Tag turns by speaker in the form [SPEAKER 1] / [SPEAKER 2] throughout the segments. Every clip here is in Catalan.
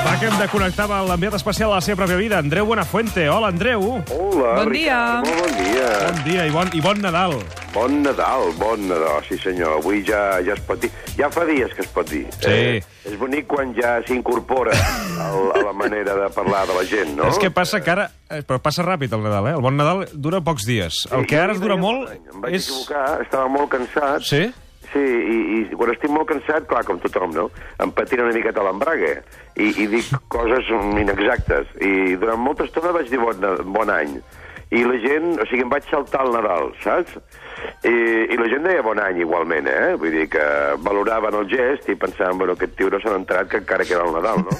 [SPEAKER 1] Va, que hem de connectar amb l'enviat especial a la seva pròpia vida, Andreu Buenafuente. Hola, Andreu.
[SPEAKER 2] Hola,
[SPEAKER 3] Bon dia.
[SPEAKER 2] Ricard, molt bon dia.
[SPEAKER 1] Bon dia i bon, i bon Nadal.
[SPEAKER 2] Bon Nadal, bon Nadal, sí senyor. Avui ja ja es pot dir... Ja fa dies que es pot dir. Eh,
[SPEAKER 1] Sí.
[SPEAKER 2] és bonic quan ja s'incorpora al- a la manera de parlar de la gent, no?
[SPEAKER 1] És que passa que ara... eh, Però passa ràpid el Nadal, eh? El bon Nadal dura pocs dies. El que ara es dura molt
[SPEAKER 2] Em vaig
[SPEAKER 1] és...
[SPEAKER 2] equivocar, estava molt cansat.
[SPEAKER 1] Sí?
[SPEAKER 2] Sí, i, i quan estic molt cansat, clar, com tothom, no? Em patina una miqueta l'embrague i, i dic coses inexactes. I durant molta estona vaig dir bon, bon any. I la gent, o sigui, em vaig saltar el Nadal, saps? I, I la gent deia bon any igualment, eh? Vull dir que valoraven el gest i pensaven, bueno, aquest tio no s'ha entrat que encara queda el Nadal, no?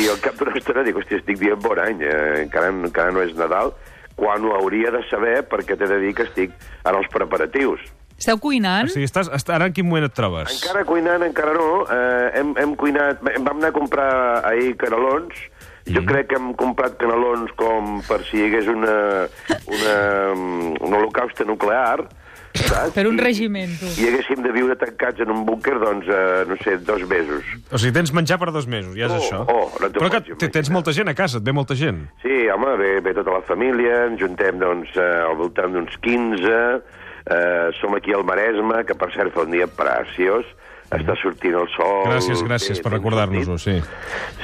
[SPEAKER 2] I al cap d'una estona dic, hòstia, estic dient bon any, eh? encara, encara no és Nadal, quan ho hauria de saber perquè t'he de dir que estic en els preparatius.
[SPEAKER 3] Esteu
[SPEAKER 1] O
[SPEAKER 3] cuinant?
[SPEAKER 1] sigui, estàs, est- ara en quin moment et trobes?
[SPEAKER 2] Encara cuinant, encara no. Eh, hem, hem cuinat... bé, Vam anar a comprar ahir canelons. Jo
[SPEAKER 1] Mhm.
[SPEAKER 2] crec que hem comprat canelons com per si hi hagués una, una, mm, un holocauste nuclear. Saps?
[SPEAKER 3] Per un
[SPEAKER 2] I-
[SPEAKER 3] regiment, tu.
[SPEAKER 2] I haguéssim de viure tancats en un búnquer, doncs, eh, no sé, dos mesos.
[SPEAKER 1] O sigui, tens menjar per dos mesos, ja és
[SPEAKER 2] Oh,
[SPEAKER 1] això.
[SPEAKER 2] oh, no t'ho
[SPEAKER 1] Però que t-
[SPEAKER 2] pots
[SPEAKER 1] tens
[SPEAKER 2] imaginar.
[SPEAKER 1] molta gent a casa, et ve molta gent.
[SPEAKER 2] Sí, home, ve, ve tota la família, ens juntem doncs, eh, al voltant d'uns 15, eh, som aquí al Maresme, que per cert fa un dia preciós, està sortint el sol...
[SPEAKER 1] Mhm. Gràcies, gràcies
[SPEAKER 2] Bé,
[SPEAKER 1] per
[SPEAKER 2] ben
[SPEAKER 1] recordar-nos-ho, sí.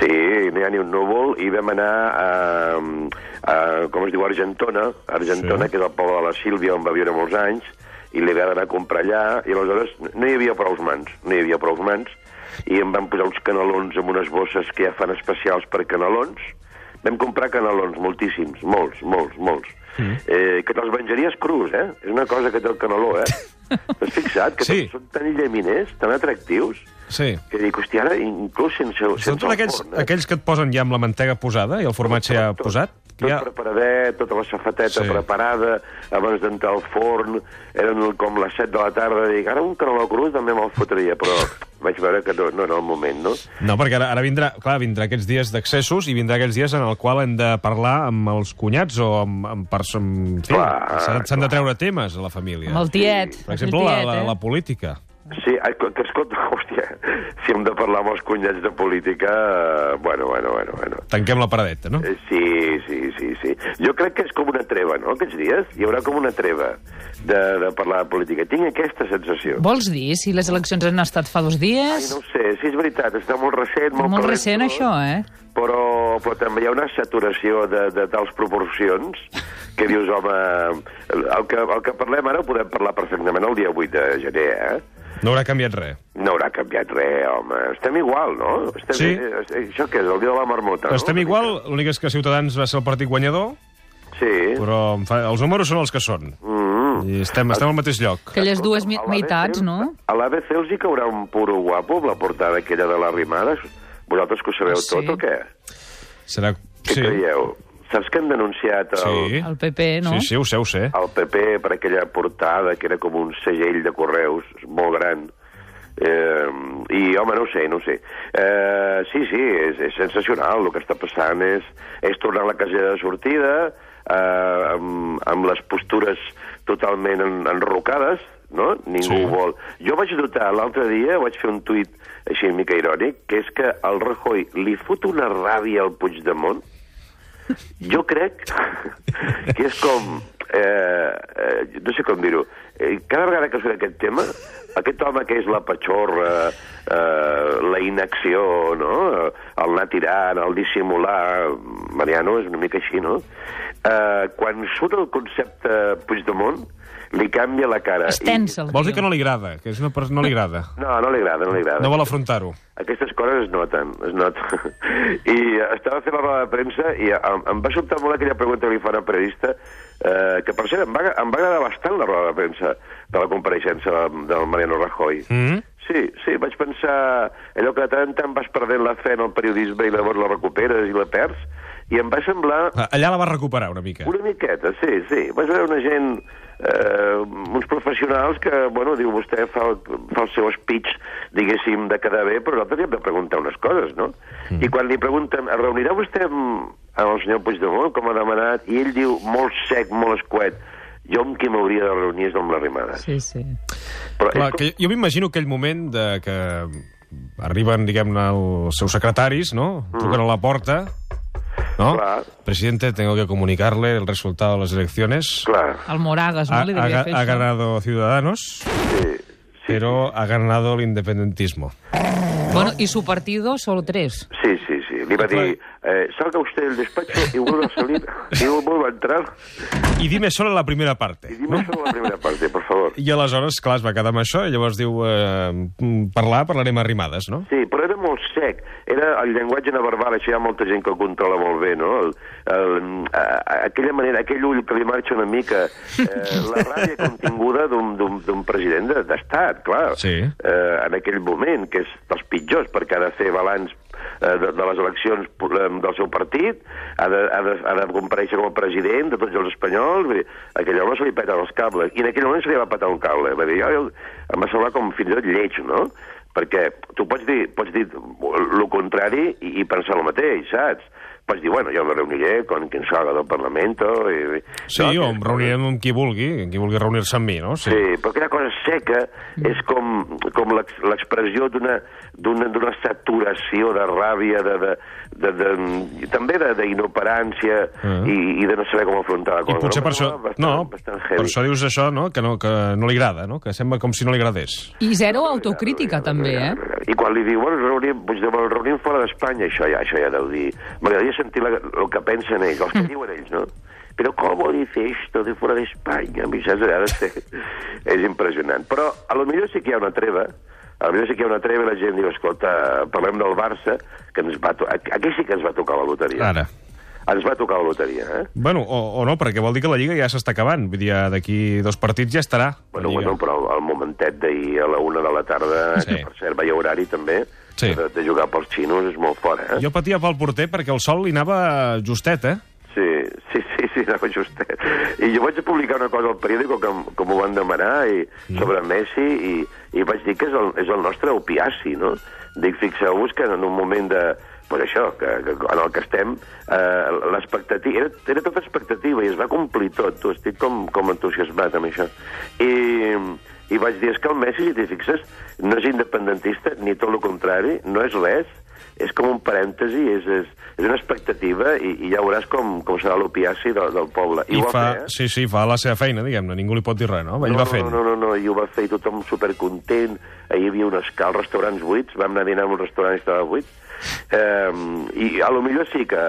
[SPEAKER 2] Sí, no hi ha ni un núvol, i vam anar a, a com es diu, Argentona, Argentona,
[SPEAKER 1] Sí.
[SPEAKER 2] sí. que és el poble de la Sílvia, on va viure molts anys, i li va d'anar a comprar allà, i aleshores no hi havia prou mans, no hi havia prou mans, i em van posar uns canelons amb unes bosses que ja fan especials per canelons. Vam comprar canelons, moltíssims, molts, molts, molts. Mm. Eh, que te'ls menjaries crus, eh? És una cosa que té el caneló, eh? T'has fixat? Que
[SPEAKER 1] Sí.
[SPEAKER 2] tots són tan llaminers, tan atractius,
[SPEAKER 1] Sí.
[SPEAKER 2] que dic, hòstia, ara inclús sense, sense
[SPEAKER 1] Són tots aquells, aquells que et posen ja amb la mantega posada i el formatge ja posat?
[SPEAKER 2] eh? Tot
[SPEAKER 1] ja...
[SPEAKER 2] preparadet, tota la safateta
[SPEAKER 1] Sí.
[SPEAKER 2] sí. preparada, abans d'entrar al forn, eren com les 7 de la tarda, dic, ara un caneló crus també me'l fotria, però vaig veure que no, no era el moment, no?
[SPEAKER 1] No, perquè ara, ara vindrà, clar, vindrà aquests dies d'accessos i vindrà aquests dies en el qual hem de parlar amb els cunyats o amb, amb persones... Sí,
[SPEAKER 2] Clar,
[SPEAKER 1] s'han- S'han de
[SPEAKER 2] clar.
[SPEAKER 1] treure temes a la família.
[SPEAKER 3] Amb el tiet.
[SPEAKER 1] Per exemple,
[SPEAKER 3] el
[SPEAKER 1] la,
[SPEAKER 3] tiet,
[SPEAKER 1] la,
[SPEAKER 3] eh?
[SPEAKER 1] la política.
[SPEAKER 2] Sí, ai, que que escolta, hòstia, si hem de parlar amb els cunyats de política, eh, bueno, bueno, bueno, bueno.
[SPEAKER 1] Tanquem la paradeta, no?
[SPEAKER 2] Eh, Sí, sí, sí, sí. Jo crec que és com una treva, no?, aquests dies. Hi haurà com una treva de, de parlar de política. Tinc aquesta sensació.
[SPEAKER 3] Vols dir si les eleccions han estat fa dos
[SPEAKER 2] Ai,
[SPEAKER 3] dies?
[SPEAKER 2] no ho sé, sí, és veritat, està molt recent, molt,
[SPEAKER 3] Molt
[SPEAKER 2] calent
[SPEAKER 3] recent,
[SPEAKER 2] tot,
[SPEAKER 3] això, eh?
[SPEAKER 2] Però, però també hi ha una saturació de, de tals proporcions que dius, home, el que, el que parlem ara ho podem parlar perfectament el dia 8 de gener, eh?
[SPEAKER 1] No haurà canviat res.
[SPEAKER 2] No haurà canviat res, home. Estem igual, no? Estem,
[SPEAKER 1] Sí.
[SPEAKER 2] eh, eh, Això què és, el dia de la marmota,
[SPEAKER 1] Estem
[SPEAKER 2] no?
[SPEAKER 1] igual, l'únic és que Ciutadans va ser el partit guanyador,
[SPEAKER 2] Sí.
[SPEAKER 1] però em fa... els números són els que són.
[SPEAKER 2] Mm.
[SPEAKER 1] I estem, estem al mateix lloc.
[SPEAKER 3] Aquelles dues mi-
[SPEAKER 2] A l'ABC
[SPEAKER 3] meitats, no?
[SPEAKER 2] A l'ABC els hi caurà un puro guapo amb la portada aquella de l'Arrimades. Vosaltres que ho sabeu
[SPEAKER 3] Ah, sí?
[SPEAKER 2] tot o què?
[SPEAKER 1] Serà...
[SPEAKER 2] Què creieu? Saps que han denunciat el,
[SPEAKER 1] Sí.
[SPEAKER 3] El PP, Eh, no?
[SPEAKER 1] Sí, sí, ho sé, ho sé.
[SPEAKER 2] el PP per aquella portada que era com un segell de correus molt gran. Eh, I, home, no ho sé, no ho sé. Eh, sí, sí, és, és sensacional. El que està passant és, és tornar a la casella de sortida eh, amb, amb les postures totalment en, enrocades, no? Ningú
[SPEAKER 1] Sí.
[SPEAKER 2] sí. vol... Jo vaig dotar l'altre dia, vaig fer un tuit així una mica irònic, que és que al Rajoy li fot una ràbia al Puigdemont jo crec que és com... Eh, eh, no sé com dir-ho. Eh, cada vegada que surt aquest tema, aquest home que és la patxorra, eh, la inacció, no? el anar tirant, el dissimular... Mariano és una mica així, no? Eh, quan surt el concepte Puigdemont, li canvia la cara.
[SPEAKER 3] És tensa, el
[SPEAKER 1] Vols dir
[SPEAKER 3] tio.
[SPEAKER 1] que no li agrada? Que és una persona... No li agrada.
[SPEAKER 2] I... No, no li agrada, no li agrada.
[SPEAKER 1] No vol afrontar-ho.
[SPEAKER 2] Aquestes coses es noten, es noten. I eh, estava fent la roda de premsa i em, em va sobtar molt aquella pregunta que li fa una periodista, eh, que per cert em va, em va agradar bastant la roda de premsa de la compareixença del, del Mariano Rajoy.
[SPEAKER 1] Mm?
[SPEAKER 2] Sí, sí, vaig pensar allò que de tant en tant vas perdent la fe en el periodisme i llavors la recuperes i la perds, i em va semblar
[SPEAKER 1] Allà la va recuperar una mica.
[SPEAKER 2] una miqueta, sí, sí. Vas veure una gent, eh, uns professionals que, bueno, diu, vostè fa el, fa el seu speech, diguéssim, de quedar bé, però nosaltres li hem de preguntar unes coses, no? Mm. I quan li pregunten, es reunirà vostè amb, amb el senyor Puigdemont, com ha demanat, i ell diu, molt sec, molt escuet, jo amb qui m'hauria de reunir és amb l'Arrimades.
[SPEAKER 3] Sí, sí.
[SPEAKER 2] Però
[SPEAKER 1] Clar,
[SPEAKER 2] és com...
[SPEAKER 1] que jo m'imagino aquell moment de que arriben, diguem-ne, els seus secretaris, no? Truquen a la porta, no?
[SPEAKER 2] Clar.
[SPEAKER 1] Presidente, tengo que comunicarle el resultado de las elecciones.
[SPEAKER 2] Clar,
[SPEAKER 3] El Moragas, no?
[SPEAKER 1] Ha,
[SPEAKER 3] Li devia
[SPEAKER 1] ha,
[SPEAKER 3] fer
[SPEAKER 1] ha
[SPEAKER 3] això.
[SPEAKER 1] ganado Ciudadanos, pero ha ganado el independentismo.
[SPEAKER 3] Bueno, y su partido solo tres.
[SPEAKER 2] sí, sí, sí. Li va
[SPEAKER 1] Clar.
[SPEAKER 2] dir, eh, salga usted del despacho y vuelva a salir, y vuelva a entrar,
[SPEAKER 1] I dime solo la primera
[SPEAKER 2] y
[SPEAKER 1] parte.
[SPEAKER 2] dime solo la primera parte, por favor.
[SPEAKER 1] I aleshores, clar, es va quedar amb això, i llavors diu, eh, mm, parlar, parlarem a rimades, no?
[SPEAKER 2] Sí, però era molt sec. Era el llenguatge no verbal, això hi ha molta gent que el controla molt bé, no? El, el, a, a, aquella manera, aquell ull que li marxa una mica, eh, la ràbia continguda d'un- d'un d'un president de- d'estat, clar.
[SPEAKER 1] Sí.
[SPEAKER 2] Eh, en aquell moment, que és dels pitjors, perquè ha de fer balanç eh, de, de les eleccions eh, del seu partit, ha de, ha, de, ha de compareixer com a president de tots els espanyols, vull dir, a aquell home se li peta els cables, i en aquell moment se li va petar un cable, va dir, jo, em va semblar com fins i tot lleig, no? Perquè tu pots dir, pots dir el contrari i, i pensar el mateix, saps? Pots dir, bueno, jo me reuniré con quien salga del Parlamento... I,
[SPEAKER 1] Sí,
[SPEAKER 2] no,
[SPEAKER 1] o
[SPEAKER 2] que-
[SPEAKER 1] em reunirem amb qui vulgui, amb qui vulgui reunir-se amb mi, no? Sí.
[SPEAKER 2] Sí, però aquella cosa seca és com, com l'ex- l'expressió d'una d'una d'una saturació de ràbia, de, de, de, de, i també de- d'inoperància
[SPEAKER 1] Ah.
[SPEAKER 2] i, i de no saber com afrontar la
[SPEAKER 1] I
[SPEAKER 2] cosa.
[SPEAKER 1] potser per això...
[SPEAKER 2] Bastant,
[SPEAKER 1] No,
[SPEAKER 2] bastant
[SPEAKER 1] per
[SPEAKER 2] heavy.
[SPEAKER 1] això dius això, no? Que no, que no li agrada, no? Que sembla com si no li agradés.
[SPEAKER 3] I zero autocrítica, també, eh?
[SPEAKER 2] I quan li diu, bueno, ens reunim, Puigdemont, ens reunim fora d'Espanya, això ja, això ja deu dir... M'agradaria sentir la, el que pensen ells, els que diuen ells, no? Però com dice esto de fora d'Espanya? A mi saps, ha de ser... És impressionant. Però a lo millor sí que hi ha una treva, a lo millor sí que hi ha una treva i la gent diu, escolta, parlem del Barça, que ens va... To... Aquí sí que ens va tocar la loteria.
[SPEAKER 1] Ara.
[SPEAKER 2] Ens va tocar la loteria, eh?
[SPEAKER 1] Bueno, o, o no, perquè vol dir que la Lliga ja s'està acabant. Vull dir, ja d'aquí dos partits ja estarà. la
[SPEAKER 2] Bueno,
[SPEAKER 1] Lliga.
[SPEAKER 2] bueno, però el momentet d'ahir a la una de la tarda,
[SPEAKER 1] Sí.
[SPEAKER 2] que per cert veia horari també,
[SPEAKER 1] Sí.
[SPEAKER 2] de, de jugar pels xinos és molt fort, eh?
[SPEAKER 1] Jo patia pel porter perquè el sol li anava justet, eh?
[SPEAKER 2] Sí, sí, sí, sí, anava justet. I jo vaig publicar una cosa al periòdico que, m- que m'ho van demanar i, sobre Messi i, i vaig dir que és el, és el nostre opiaci, no? Dic, fixeu-vos que en un moment de... Pues això, que, que en el que estem, eh, l'expectativa... Era, era tota expectativa i es va complir tot. Tu, estic com, com entusiasmat amb això. I, I vaig dir, és que el Messi, si t'hi fixes, no és independentista, ni tot el contrari, no és res, és com un parèntesi, és, és, és una expectativa i, i ja veuràs com, com serà l'opiaci del, del poble.
[SPEAKER 1] I
[SPEAKER 2] ho va
[SPEAKER 1] fa,
[SPEAKER 2] fer, eh?
[SPEAKER 1] sí, sí, fa la seva feina, diguem-ne. Ningú li pot dir res, no? Ell
[SPEAKER 2] no,
[SPEAKER 1] va fent.
[SPEAKER 2] No, no, no, no, i ho va fer i tothom supercontent. Ahir hi havia unes cal, restaurants buits, vam anar a dinar a un restaurant i estava buit. Um, I a lo millor sí que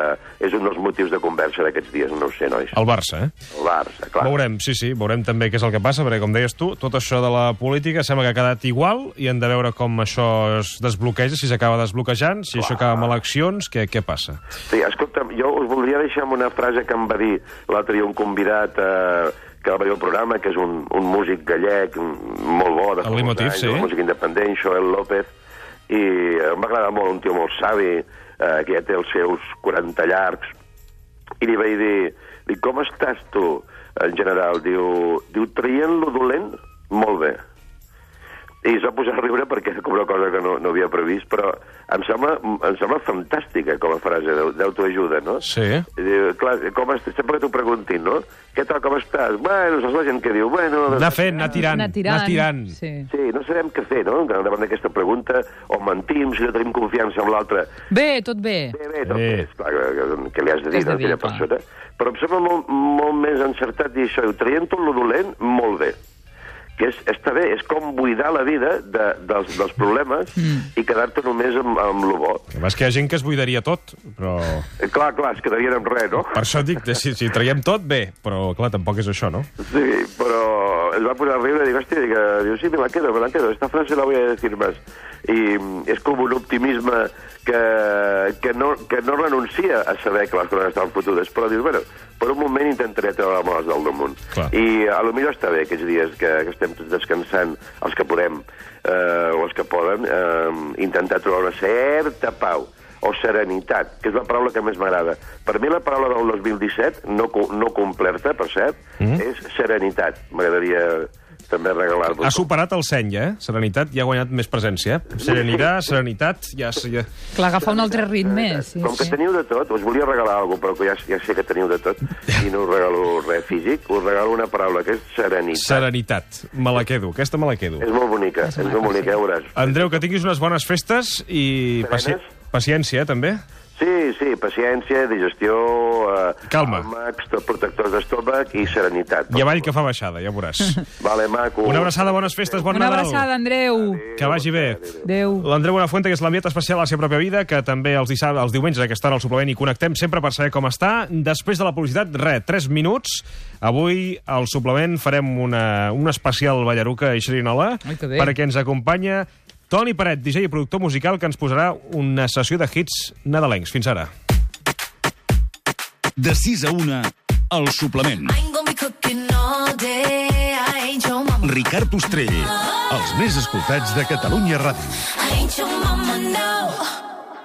[SPEAKER 2] és un dels motius de conversa d'aquests dies, no ho sé, nois.
[SPEAKER 1] El Barça, eh?
[SPEAKER 2] El Barça, clar.
[SPEAKER 1] Veurem, sí, sí, veurem també què és el que passa, perquè, com deies tu, tot això de la política sembla que ha quedat igual i hem de veure com això es desbloqueja, si s'acaba desbloquejant, si això acaba amb eleccions, què, què passa?
[SPEAKER 2] Sí, escolta, jo us voldria deixar amb una frase que em va dir l'altre dia un convidat eh, que va venir al programa, que és un, un músic gallec un- molt bo, de fa
[SPEAKER 1] El
[SPEAKER 2] molts
[SPEAKER 1] Leitmotiv,
[SPEAKER 2] anys,
[SPEAKER 1] sí.
[SPEAKER 2] un músic independent, Joel López, i eh, em va agradar molt, un tio molt savi, eh, que ja té els seus 40 llargs, i li vaig dir, dic, com estàs tu, en general? Diu, diu traient lo dolent, molt bé. I es va posar a riure perquè era com una cosa que no, no havia previst, però em sembla, em sembla fantàstica com a frase d'au- d'autoajuda, no?
[SPEAKER 1] Sí. eh?
[SPEAKER 2] Diu, clar, com estàs? Sempre que t'ho preguntin, no? Què tal, com estàs? Bueno, saps la gent que diu, bueno... doncs-
[SPEAKER 1] Anar fent, anar tirant,
[SPEAKER 3] Anar tirant.
[SPEAKER 1] anar tirant.
[SPEAKER 3] Sí.
[SPEAKER 2] Sí, no sabem què fer, no? Davant d'aquesta pregunta, o mentim, si no tenim confiança en l'altre.
[SPEAKER 3] Bé, tot bé.
[SPEAKER 2] Bé, bé, doncs,
[SPEAKER 1] Sí.
[SPEAKER 2] és clar, que, que, que li has de
[SPEAKER 3] Que
[SPEAKER 2] dir
[SPEAKER 3] has de
[SPEAKER 2] a aquella
[SPEAKER 3] dir, clar.
[SPEAKER 2] persona. eh? Però em sembla molt, molt més encertat dir això, i ho traient tot lo dolent molt bé. Que és, està bé, és com buidar la vida de, dels, dels problemes mm. i quedar-te només amb, amb lo bo.
[SPEAKER 1] El que passa és que hi ha gent que es buidaria tot, però...
[SPEAKER 2] Eh, Clar, clar, es quedarien amb res, no?
[SPEAKER 1] Per això et dic, que si, si traiem tot, bé, però clar, tampoc és això, no?
[SPEAKER 2] Sí, però es va posar a riure i dic, hòstia, dic, eh, diu, sí, me la quedo, me la quedo, esta frase la voy a decir más. I mm, és com un optimisme que, que, no, que no renuncia a saber que les coses estan fotudes, però dius, bueno, per un moment intentaré treure la males del damunt.
[SPEAKER 1] Clar.
[SPEAKER 2] I a lo millor està bé aquests dies que, que estem tots descansant, els que podem, eh, o els que poden, eh, intentar trobar una certa pau o serenitat, que és la paraula que més m'agrada. Per mi la paraula del Mm-hmm. 2017, no, co- no complerta, per cert, mm. és serenitat. M'agradaria també regalar-vos...
[SPEAKER 1] Ha superat el seny, eh? Serenitat ja ha guanyat més presència. eh? Serenidà, serenitat, ja... ja...
[SPEAKER 3] Clar, agafar un altre ritme. Sí,
[SPEAKER 2] Com que
[SPEAKER 3] sí.
[SPEAKER 2] teniu de tot, us volia regalar alguna cosa, però que ja, ja sé que teniu de tot, i no us regalo res físic, us regalo una paraula, que és serenitat.
[SPEAKER 1] Serenitat. Me la quedo, aquesta me la quedo.
[SPEAKER 2] És molt bonica, és,
[SPEAKER 3] És maca,
[SPEAKER 2] molt bonica,
[SPEAKER 3] sí.
[SPEAKER 2] ja veuràs.
[SPEAKER 1] Andreu, que tinguis unes bones festes i paci...
[SPEAKER 2] Serenes.
[SPEAKER 1] paciència, eh, també.
[SPEAKER 2] Sí, sí, paciència, digestió... Eh,
[SPEAKER 1] Calma.
[SPEAKER 2] Àlmacs, protectors d'estomac i serenitat.
[SPEAKER 1] I avall que fa baixada, ja veuràs.
[SPEAKER 2] Vale, maco.
[SPEAKER 1] Una abraçada, bones festes, bon
[SPEAKER 3] Una
[SPEAKER 1] Nadal.
[SPEAKER 3] abraçada, Andreu.
[SPEAKER 1] Que vagi bé.
[SPEAKER 3] Adéu.
[SPEAKER 1] L'Andreu Buenafuente, que és l'enviat especial a la seva pròpia vida, que també els, dissabtes, els diumenges que estan al suplement i connectem sempre per saber com està. Després de la publicitat, res, 3 minuts. Avui al suplement farem una, un especial ballaruca i xerinola
[SPEAKER 3] Ai, que bé.
[SPEAKER 1] perquè ens acompanya Toni Paret, DJ i productor musical, que ens posarà una sessió de hits nadalencs. Fins ara.
[SPEAKER 4] De 6 a 1, el suplement.
[SPEAKER 5] I ain't gonna be cooking all day. I ain't your mama.
[SPEAKER 4] Ricard Ostrell, els més escoltats de Catalunya Ràdio.
[SPEAKER 5] I ain't your